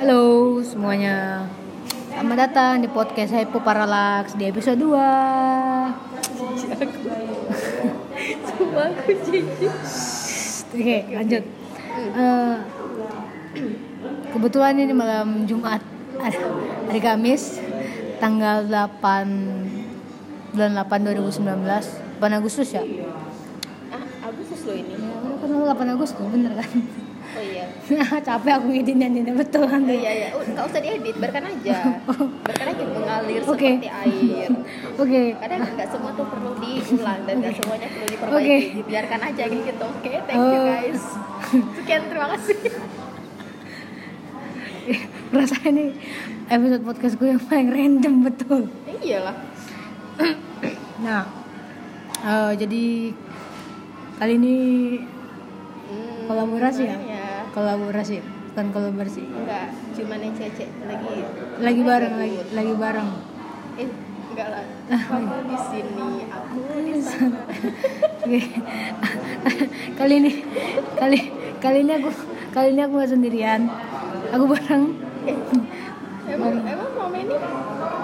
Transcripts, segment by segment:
Halo semuanya Selamat datang di podcast Hypo Parallax Di episode 2 Cuma aku jadi Oke lanjut Eh, Kebetulan ini malam Jumat Hari Kamis Tanggal 8 Bulan 8 2019 8 Agustus ya? Ya Ah, Agustus lo ini udah, kan lu 8 Agustus bener kan? Oh iya Capek aku ngedinnya nih betul kan? Oh iya iya Oh, Nggak usah diedit, biarkan aja Biarkan aja mengalir Oke. seperti air Oke Kadang nggak semua tuh perlu diulang Dan nggak semuanya perlu diperbaiki Oke. Biarkan aja gitu Oke, thank you Oh. guys Sekian, terima kasih Rasanya ini episode podcast gue yang paling random betul Ya iyalah Nah, eh, jadi kali ini Hmm, Kolaborasi ya? gimana kolaborasi, bukan kolaborasi. Enggak, cuman yang cece lagi Lagi bareng, lagi, lagi bareng. Eh, enggak lah Kamu di sini, aku di sana Oke. kali ini, kali kali ini aku kali ini aku gak sendirian. Aku bareng. Emang, emang mama ini?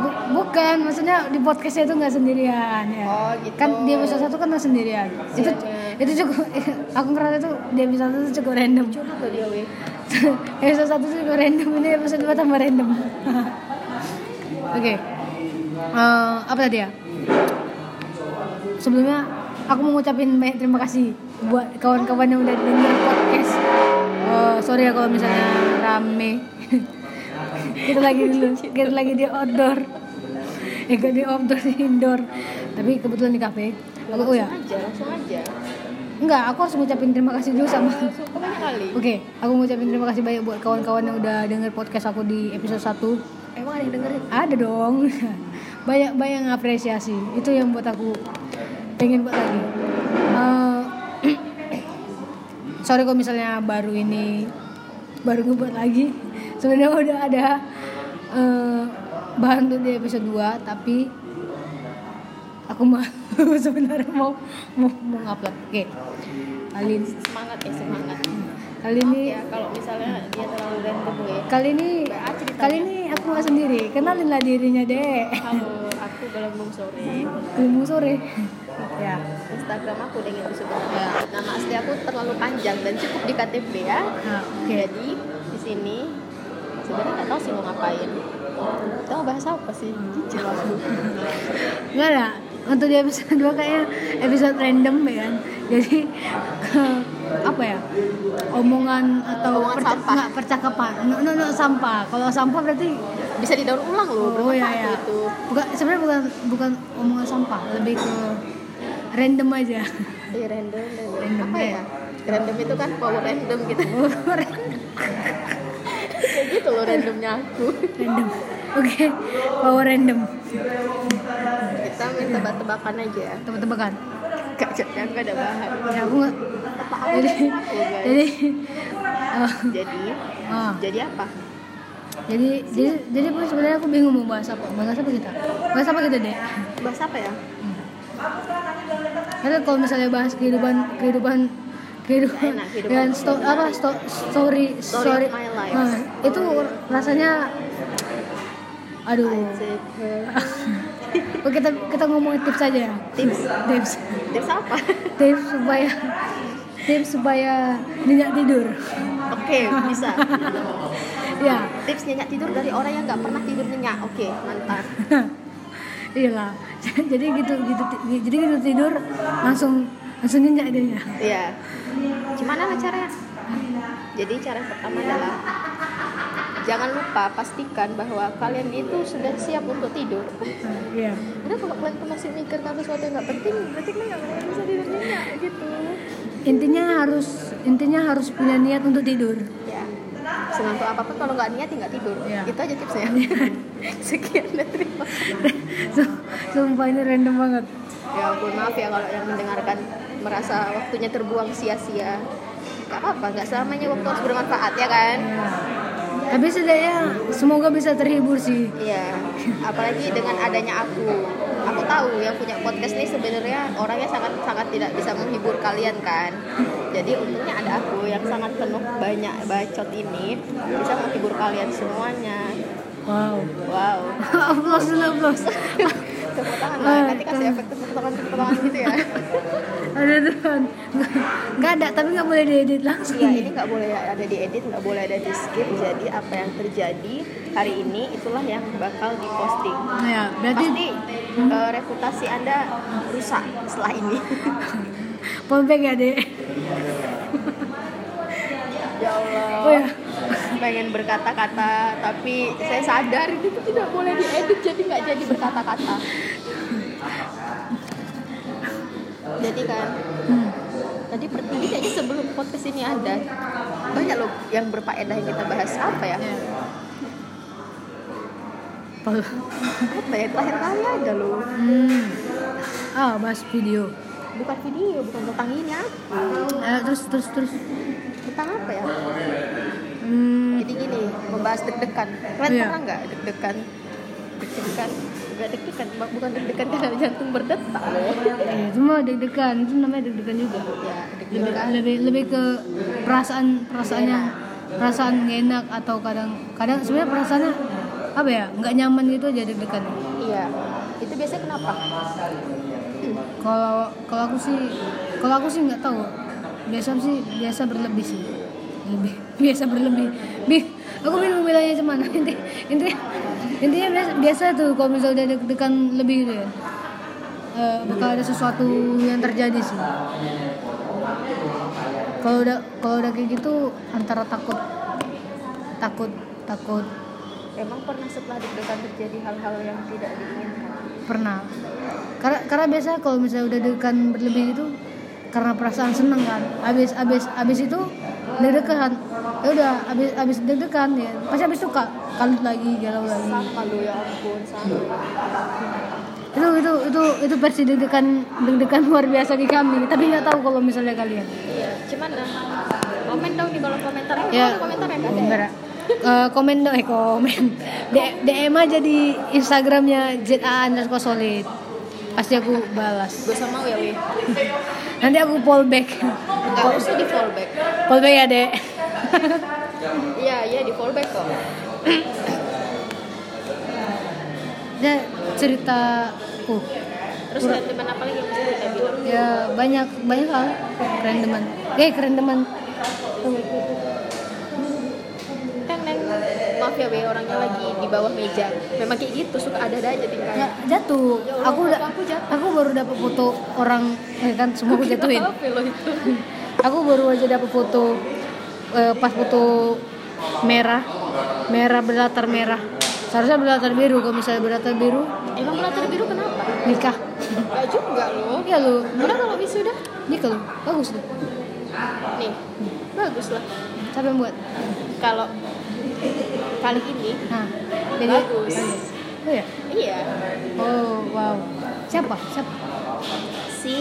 Bu- bukan, maksudnya di podcastnya itu nggak sendirian ya. Oh gitu Kan di episode satu kan gak sendirian. Itu Iya. itu cukup. Aku ngerasa itu di episode satu cukup random. Curhat loh dia, weh episode satu sih gue random ini episode dua tambah random oke Eh, apa tadi ya sebelumnya aku mau ngucapin banyak terima kasih buat kawan-kawan yang udah denger podcast Eh, sorry ya kalau misalnya rame kita lagi dulu kita lagi di outdoor ya gak di outdoor di indoor tapi kebetulan di kafe aku oh ya aja langsung aja enggak aku harus ngucapin terima kasih dulu sama langsung banyak kali Oke, aku ngucapin terima kasih banyak buat kawan-kawan yang udah denger podcast aku di episode 1 Hmm. emang ada yang dengerin Ada dong Banyak-banyak yang apresiasi Itu yang buat aku pengen buat lagi Eh, Sorry kalau misalnya baru ini Baru ngebuat lagi Sebenarnya udah ada eh, Bahan untuk di episode 2 Tapi Aku mau sebenarnya mau mau, mau upload Oke Kali, semangat ya semangat kali ini ya kalau misalnya dia terlalu random ya Kali ini BA ceritanya. kali ini aku nggak sendiri. Kenalinlah dirinya, Dek. halo aku gelembung sore Ilmu sore. ya. Instagram aku dengan itu sebenarnya nama asli Nah, aku terlalu panjang dan cukup di KTP ya Nah, oke. jadi di sini sebenarnya nggak tahu sih mau ngapain tahu bahasa apa sih jijik aku Enggak ada. Untuk di episode 2 kayaknya episode random ya kan. Jadi ke- apa ya? Omongan atau Omongan perca- sampah. nggak, percakapan. No, no, no, sampah. Kalau sampah berarti bisa didaur ulang loh gitu. Oh bermanfaat ya ya. tuh itu Bukan sebenarnya bukan bukan omongan sampah, lebih ke random aja. Iya random, random. Random, apa ya? ya? Random itu kan power random gitu. Oh, Kayak gitu loh randomnya aku. random. Oke, power random. Kita main tebak-tebakan aja. Tebak-tebakan. Kak Jangan gak ada bahan. Oh, Ya aku nggak- jadi Iya, jadi eh, Jadi, ah, jadi apa? jadi jadi jadi aku sebenarnya aku bingung mau bahas apa bahas apa kita bahas apa kita deh Bahas apa ya? karena kalau misalnya bahas kehidupan kehidupan kehidupan Enak, kehidupan dengan sto- apa sto- story Story of my life. Ah, itu rasanya aduh Ajak ke Oke, kita kita ngomongin tips aja ya Tips, tips tips apa? tips supaya tips supaya tidak tidur Oke, bisa. ya Tips nyenyak tidur dari orang yang nggak pernah tidur nyenyak. Oke, mantap. iya lah jadi gitu gitu jadi gitu tidur langsung langsung nyenyak dia ya. Iya. Gimana lah caranya? Jadi cara yang pertama adalah jangan lupa pastikan bahwa kalian itu sudah siap untuk tidur. iya Karena kalau kalian tuh masih mikir karena sesuatu yang nggak penting, berarti kan kalian nggak akan bisa tidur nyenyak gitu. intinya harus intinya harus punya niat untuk tidur Ya. Senang tuh apapun kalau nggak niat ya nggak tidur. Iya. Itu aja tipsnya. Sekian dan terima kasih. Sum- sumpah ini random banget Ya ampun maaf ya kalau yang mendengarkan merasa waktunya terbuang sia-sia. Gak apa-apa, nggak selamanya waktu harus bermanfaat ya kan? Iya. tapi setidaknya semoga bisa terhibur sih Iya, apalagi dengan adanya aku. aku tahu yang punya podcast ini sebenarnya orangnya sangat sangat tidak bisa menghibur kalian kan jadi untungnya ada aku yang sangat penuh banyak bacot ini bisa menghibur kalian semuanya Wow. wow Applause dulu, applause. tepuk tangan lah nanti kasih efek tepuk tangan tepuk tangan gitu ya Aduh, Tuhan. Nggak ada, tapi nggak boleh diedit langsung. Iya, ini nggak boleh ada di edit, nggak boleh ada di skip. Jadi apa yang terjadi hari ini itulah yang bakal diposting. Nah, ya, berarti Pasti eh, reputasi anda rusak setelah ini. polpek ya, Dek. ya Allah. Oh ya. Pengen berkata-kata, tapi saya sadar itu tuh tidak boleh diedit, jadi nggak jadi berkata-kata. Jadi kan, Hmm. tadi pertini kayaknya sebelum podcast ini ada banyak loh yang berfaedah yang kita bahas apa ya? Pol- Apa ya? Terakhir kali ada loh. Hmm. Ah, bahas video. bukan video bukan tentang ini apa Eh, terus terus terus. tentang apa ya Hmm. jadi gini membahas deg-degan kalian Iya. pernah nggak deg-degan deg-degan nggak deg-degan bu- bukan deg-degan karena jantung berdetak loh Eh, itu mah deg-degan, itu namanya deg-degan juga. ya Lebih deg-degan lebih lebih ke perasaan perasaan yang perasaan nggak enak atau kadang kadang sebenarnya perasaannya apa ya nggak nyaman gitu aja deg-degan iya itu biasanya kenapa kalau kalau aku sih kalau aku sih nggak tahu biasa sih biasa berlebih sih lebih biasa berlebih Bih, aku bingung bilangnya cuman inti inti intinya biasa, biasa tuh kalau misalnya udah deg-degan lebih gitu ya eh, bakal ada sesuatu yang terjadi sih kalau udah kalau udah kayak gitu antara takut takut takut emang pernah setelah deg-degan terjadi hal-hal yang tidak diinginkan pernah karena karena biasa kalau misalnya udah dekan berlebih itu karena perasaan seneng kan abis abis abis itu deg-degan ya udah abis abis deg-degan ya pasti abis itu ka- kalut lagi galau lagi sama lo ya ampun sama itu itu itu itu versi deg-degan deg-degan luar biasa di kami tapi nggak tahu kalau misalnya kalian iya cuman nah, komen dong di kolom komentar eh, Ya. ada komentar ya nggak ada ya? Bentar, eh, komen dong, eh komen D- DM aja di Instagramnya ZA underscore solid Pasti aku balas gue sama ya weh Nanti aku fallback nggak usah di fallback Fallback ya dek iya iya di fallback kok Dia ceritaku terus teman apa lagi yang bisa kita bilang ya banyak banyak hal keren teman eh keren teman kan neng maaf ya be orangnya lagi di bawah meja memang kayak gitu suka ada ada aja ya, tingkahnya jatuh Ya Allah, aku udah foto aku jatuh. aku baru dapet foto orang eh kan semua aku jatuhin Apa lo itu aku baru aja dapet foto eh, pas foto merah merah berlatar merah seharusnya berlatar biru kalau misalnya berlatar biru emang latar biru kenapa nikah Gak juga lo ya lu udah kalau wisuda nikah lu bagus tuh nih bagus lah siapa yang buat kalau kali ini nah jadi bagus oh ya iya oh wow siapa siapa si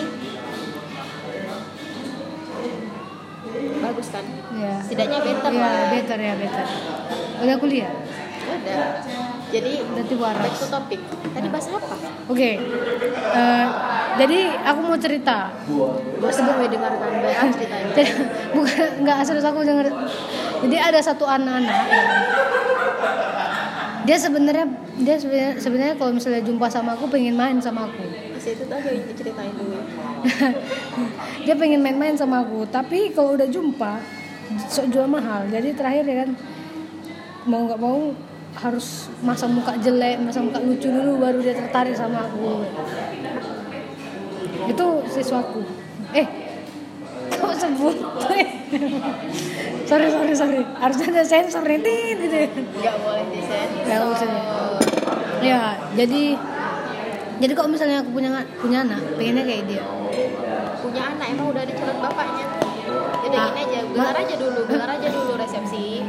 bagus kan ya setidaknya better ya lah better ya better udah kuliah udah jadi berarti back waras to topic tadi bahas apa oke eh, jadi aku mau cerita bosan gue dengarkan banyak ceritanya jadi bukan nggak serius aku denger jadi ada satu anak-anak dia sebenarnya dia sebenarnya sebenarnya kalau misalnya jumpa sama aku pengen main sama aku Masih itu tuh aja yang diceritain dulu. dia pengen main-main sama aku tapi kalau udah jumpa sok jual mahal jadi terakhir ya kan mau nggak mau harus masa muka jelek masa muka lucu dulu baru dia tertarik sama aku itu siswaku eh kok sebut sorry sorry sorry harusnya ada sensor nih tit, gitu Gak boleh Eh, disensor. Nggak usah. ya jadi jadi kok misalnya aku punya punya anak pengennya kayak dia Punya anak emang udah ada calon bapaknya. Jadi Ah. gini aja, gelar aja dulu, gelar aja dulu resepsi,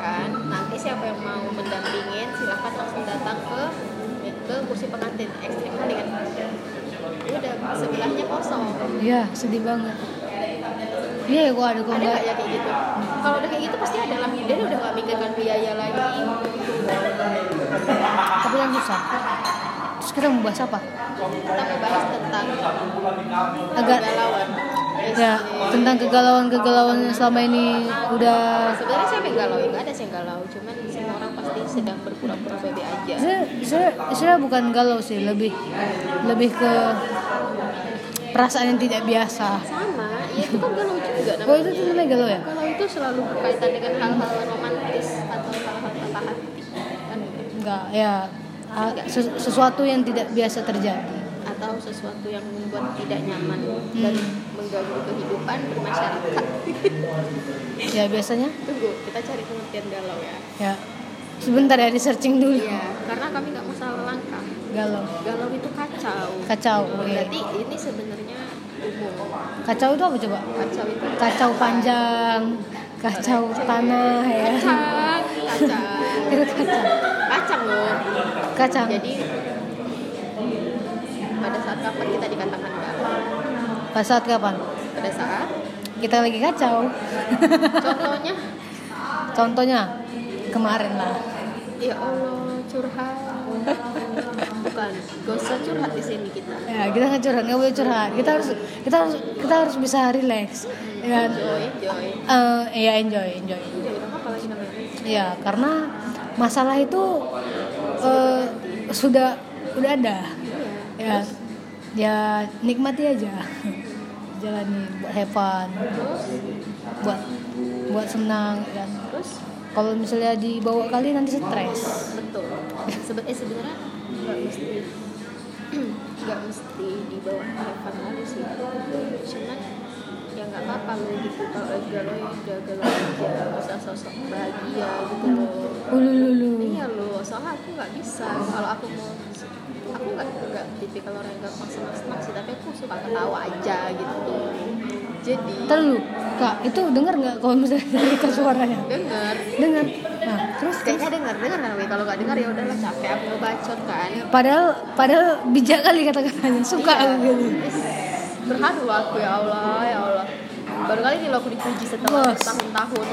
kan? Nanti siapa yang mau mendampingin, silahkan langsung datang ke ke kursi pengantin ekstrim kali kan. Udah sebelahnya kosong. Iya, sedih banget. Iya, gua ada gua Ada nggak enggak. ya kayak gitu? Kalau udah kayak gitu pasti ada lah. Dia udah gak mikirkan biaya lagi. Tapi kan susah. Terus kita mau bahas apa? kita mau bahas tentang Agak kegalauan ya tentang kegalauan-kegalauan yang selama ini udah sebenarnya siapa yang galau ya nggak ada sih yang galau cuman semua orang pasti sedang berpura-pura pede aja saya saya saya bukan galau sih lebih lebih ke perasaan yang tidak biasa sama ya itu kan galau juga oh namanya itu tuh namanya galau ya galau itu selalu berkaitan dengan hal-hal romantis atau hal-hal patah hati kan enggak ya ah, ses- sesuatu yang tidak biasa terjadi atau sesuatu yang membuat tidak nyaman Hmm. dan mengganggu kehidupan bermasyarakat ya biasanya tunggu kita cari pengertian galau ya ya sebentar ya di searching dulu iya karena kami nggak mau salah langkah galau galau itu kacau Oh, kacau iya. oke. berarti ini sebenarnya umum kacau itu apa coba kacau itu kacau panjang kacau tanah ya kacang kacang itu kacau kacang loh kacang jadi pada saat kapan kita dikatakan galau pada saat kapan pada saat kita lagi kacau contohnya contohnya kemarin lah ya allah curhat bukan gak usah curhat di sini kita ya kita nggak curhat nggak boleh curhat kita harus kita harus kita harus bisa relax ya enjoy enjoy eh, ya enjoy enjoy enjoy dong apa lagi namanya ya karena masalah itu eh, sudah udah ada Iya. ya ya nikmati aja jalani buat have fun terus buat buat senang kan terus kalau misalnya dibawa kali nanti stres betul Sebe eh sebenarnya nggak mesti nggak mesti dibawa ke depan lagi sih cuman ya nggak apa-apa lo gitu kalau lagi galau ya udah galau aja nggak usah sosok bahagia gitu loh ulu lulu iya lo soalnya aku nggak bisa kalau aku mau aku nggak nggak tipikal orang yang gampang senang-senang sih tapi aku suka ketawa aja gitu jadi terlalu kak itu dengar nggak kalau misalnya dari ke suaranya denger dengar nah terus kayaknya denger denger kan Wi? kalau nggak denger ya udahlah capek aku bacot kan padahal padahal bijak kali kata-katanya suka Iya. aku gitu Is, Berharu aku ya Allah, ya Allah. Baru kali ini loh aku dipuji setelah Bos. bertahun-tahun.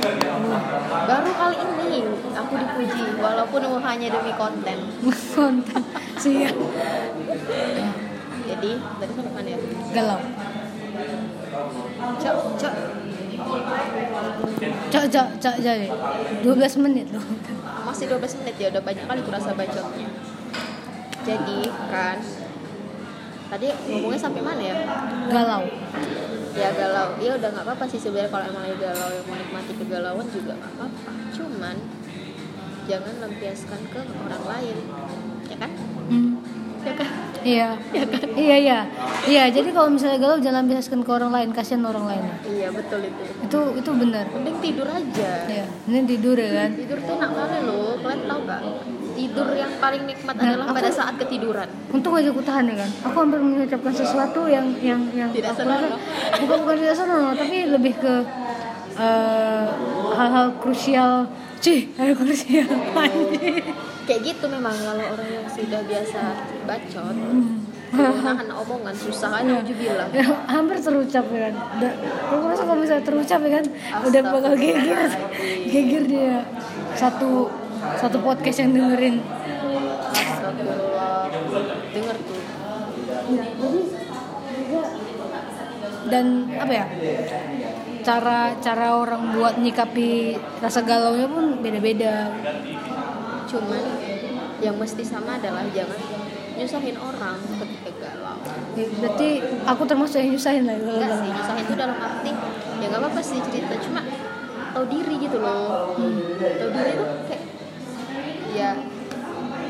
Baru kali ini aku dipuji walaupun hanya demi konten. kontak sih ya. Jadi dari sana mana ya? galau Cok, cok. cok cok cok jadi 12 menit loh Masih 12 menit ya udah banyak kali kurasa bacotnya. Jadi kan tadi ngomongnya sampai mana ya? galau ya galau ya udah nggak apa-apa sih sebenarnya kalau emang lagi galau yang menikmati kegalauan juga nggak apa-apa cuman jangan lampiaskan ke orang lain ya kan Hmm. ya kan iya iya iya iya jadi kalau misalnya galau jangan lampiaskan ke orang lain kasihan orang lain iya betul itu itu itu benar mending tidur aja ya ini tidur ya kan tidur tuh enak kali loh kalian tau gak tidur yang paling nikmat Nah, adalah pada aku- saat ketiduran Untung aja aku tahan ya kan. Aku hampir mengucapkan sesuatu yang yang yang Tidak aku senonoh. rasa- bukan bukan tidak senonoh, tapi lebih ke eh, hal-hal krusial. Cih, hal krusial. Anjir. kayak gitu memang kalau orang yang sudah biasa bacot Hmm. nahan omongan susah kan jubilah Ya, hampir terucap ya kan. Udah, aku rasa kalau misalnya terucap ya kan, udah bakal geger, geger dia. Satu satu podcast yang dengerin. astagfirullah denger tuh Ya, jadi juga dan apa ya cara cara orang buat nyikapi rasa galaunya pun beda-beda cuman yang mesti sama adalah jangan nyusahin orang ketika galau Ya, berarti aku termasuk yang nyusahin lah kalau enggak sih galau. nyusahin itu dalam arti ya nggak apa-apa sih cerita cuma tahu diri gitu loh tahu diri tuh kayak ya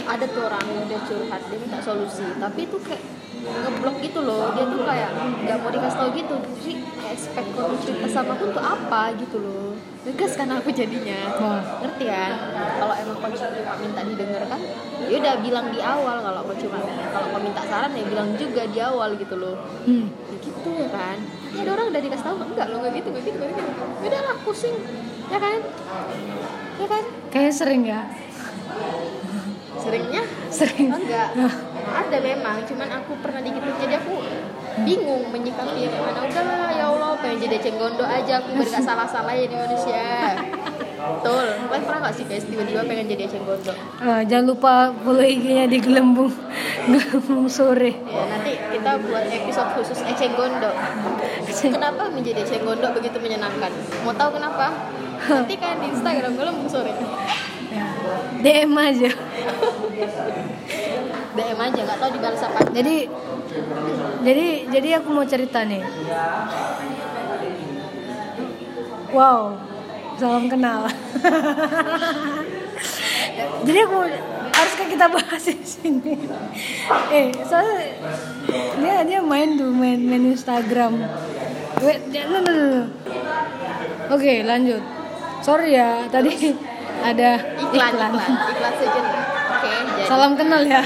ada tuh orang yang udah curhat dia minta solusi tapi itu kayak ngeblok gitu loh dia tuh kayak nggak mau dikasih tau gitu jadi kayak expect kalau lu cerita sama aku tuh apa gitu loh ngegas kan aku jadinya Wah, ngerti kan kalau emang kau cuma minta didengarkan ya udah bilang di awal kalau kau cuma kalau kau minta saran ya bilang juga di awal gitu loh hmm. ya gitu ya kan ya ada orang udah dikasih tahu enggak lo nggak gitu nggak gitu nggak gitu Ya udah lah pusing ya kan ya kan Kayaknya sering ya, seringnya sering. enggak ada memang cuman aku pernah dikitin jadi aku bingung menyikapi yang mana udahlah ya Allah pengen jadi cenggondo aja aku biar nggak salah-salah ya di manusia Betul. Kalian pernah nggak sih guys tiba-tiba pengen jadi eceng gondok? Eh, jangan lupa follow IG-nya di gelembung gelembung sore. Ya, nanti kita buat episode khusus eceng gondok. Kenapa menjadi eceng gondok begitu menyenangkan? Mau tahu kenapa? Nanti kan di Instagram gue lembung sore. Ya. DM aja. DM aja, nggak tahu dibalas apa. Jadi jadi jadi aku mau cerita nih. Wow. Salam kenal. jadi aku haruskah kita bahas di sini? Eh, soalnya dia dia main tuh main main Instagram. Wait, dia- no, no, no, no. Oke, lanjut. Sorry ya, tadi ada Iklan, iklan, iklan sejenak. Oke, jadi Salam kenal ya.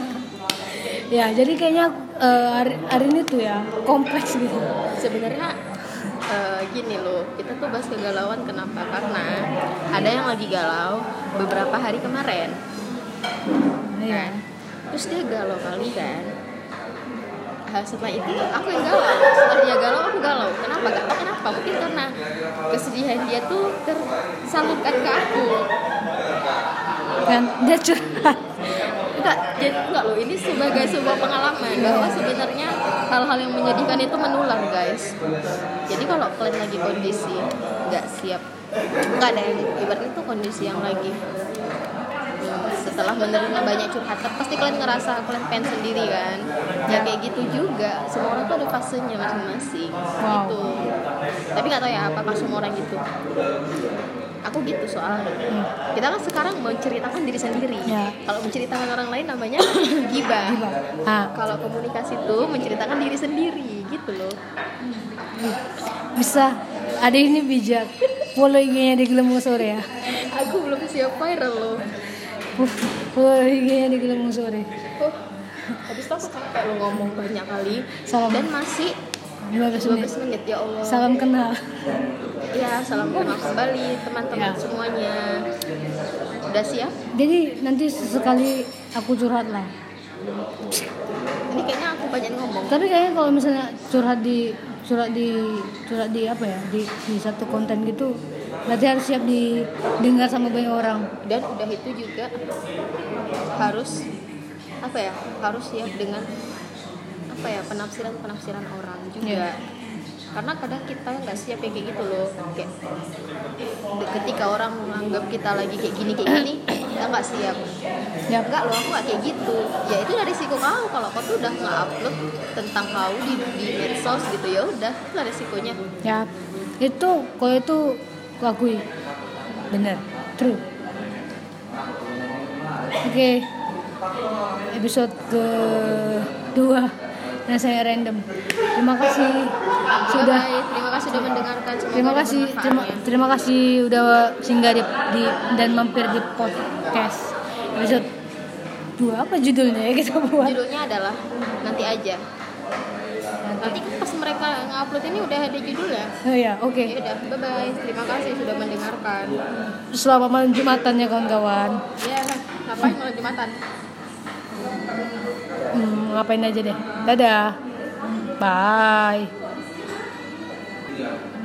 ya, jadi kayaknya eh, hari, hari ini tuh ya kompleks gitu. sebenarnya eh, gini loh, kita tuh bahas kegalauan kenapa? Karena ada yang lagi galau beberapa hari kemarin. kan Iya. terus dia galau kali kan Nah, setelah itu aku yang galau setelah dia galau aku galau kenapa gak tau kenapa mungkin karena kesedihan dia tuh tersalurkan ke aku Kan dia curhat. enggak jadi enggak loh ini sebagai sebuah pengalaman bahwa sebenarnya hal-hal yang menyedihkan itu menular guys jadi kalau kalian lagi kondisi nggak siap nggak ada yang ibaratnya itu kondisi yang lagi hmm, setelah menerima banyak curhatan pasti kalian ngerasa kalian pengen sendiri kan ya kayak gitu juga semua orang tuh ada fasenya masing-masing Wow. gitu tapi nggak tahu ya apakah semua orang gitu aku gitu soalnya kita kan sekarang menceritakan diri sendiri Hmm. Ya. kalau menceritakan orang lain namanya gibah Gila. Ah, kalau komunikasi itu menceritakan diri sendiri gitu loh bisa. Ada ini bijak. Follow IG-nya di Gelembung Sore ya. aku belum siap viral loh Follow IG-nya di Gelembung Sore. oh, habis itu aku capek lo ngomong banyak kali Salam. dan masih 15 menit. 12 menit ya Allah Salam kenal. ya salam kenal kembali teman-teman Ya. semuanya udah siap Jadi nanti sesekali aku curhat lah. ini kayaknya aku banyak ngomong Tapi kayaknya kalau misalnya curhat di curhat di curhat di apa ya di, di satu konten gitu berarti harus siap didengar sama banyak orang. dan udah itu juga harus apa ya harus siap dengan apa ya penafsiran penafsiran orang juga Iya. karena kadang kita nggak siap yang kayak gitu loh kayak ketika orang menganggap kita lagi kayak gini kayak gini kita nggak siap Ya, enggak loh aku nggak kayak gitu ya itu dari resiko kau kalau kau tuh udah nggak upload tentang kau di, di medsos gitu ya udah itu lah resikonya ya. Itu kalau itu kuakui. Bener. True. Oke. Episode ke dua yang saya random. Terima kasih sudah Bye-bye. terima kasih sudah mendengarkan Semoga Terima ada kasih, bermanfaatnya. terima, terima kasih udah singgah di, di- dan mampir di podcast episode dua apa judulnya ya kita buat judulnya adalah nanti aja nanti kan pas mereka ngupload ini udah ada judulnya oh ya oke ya udah bye bye terima kasih sudah mendengarkan selamat malam jumatan ya kawan-kawan ya ngapain malam jumatan hmm, ngapain aja deh dadah bye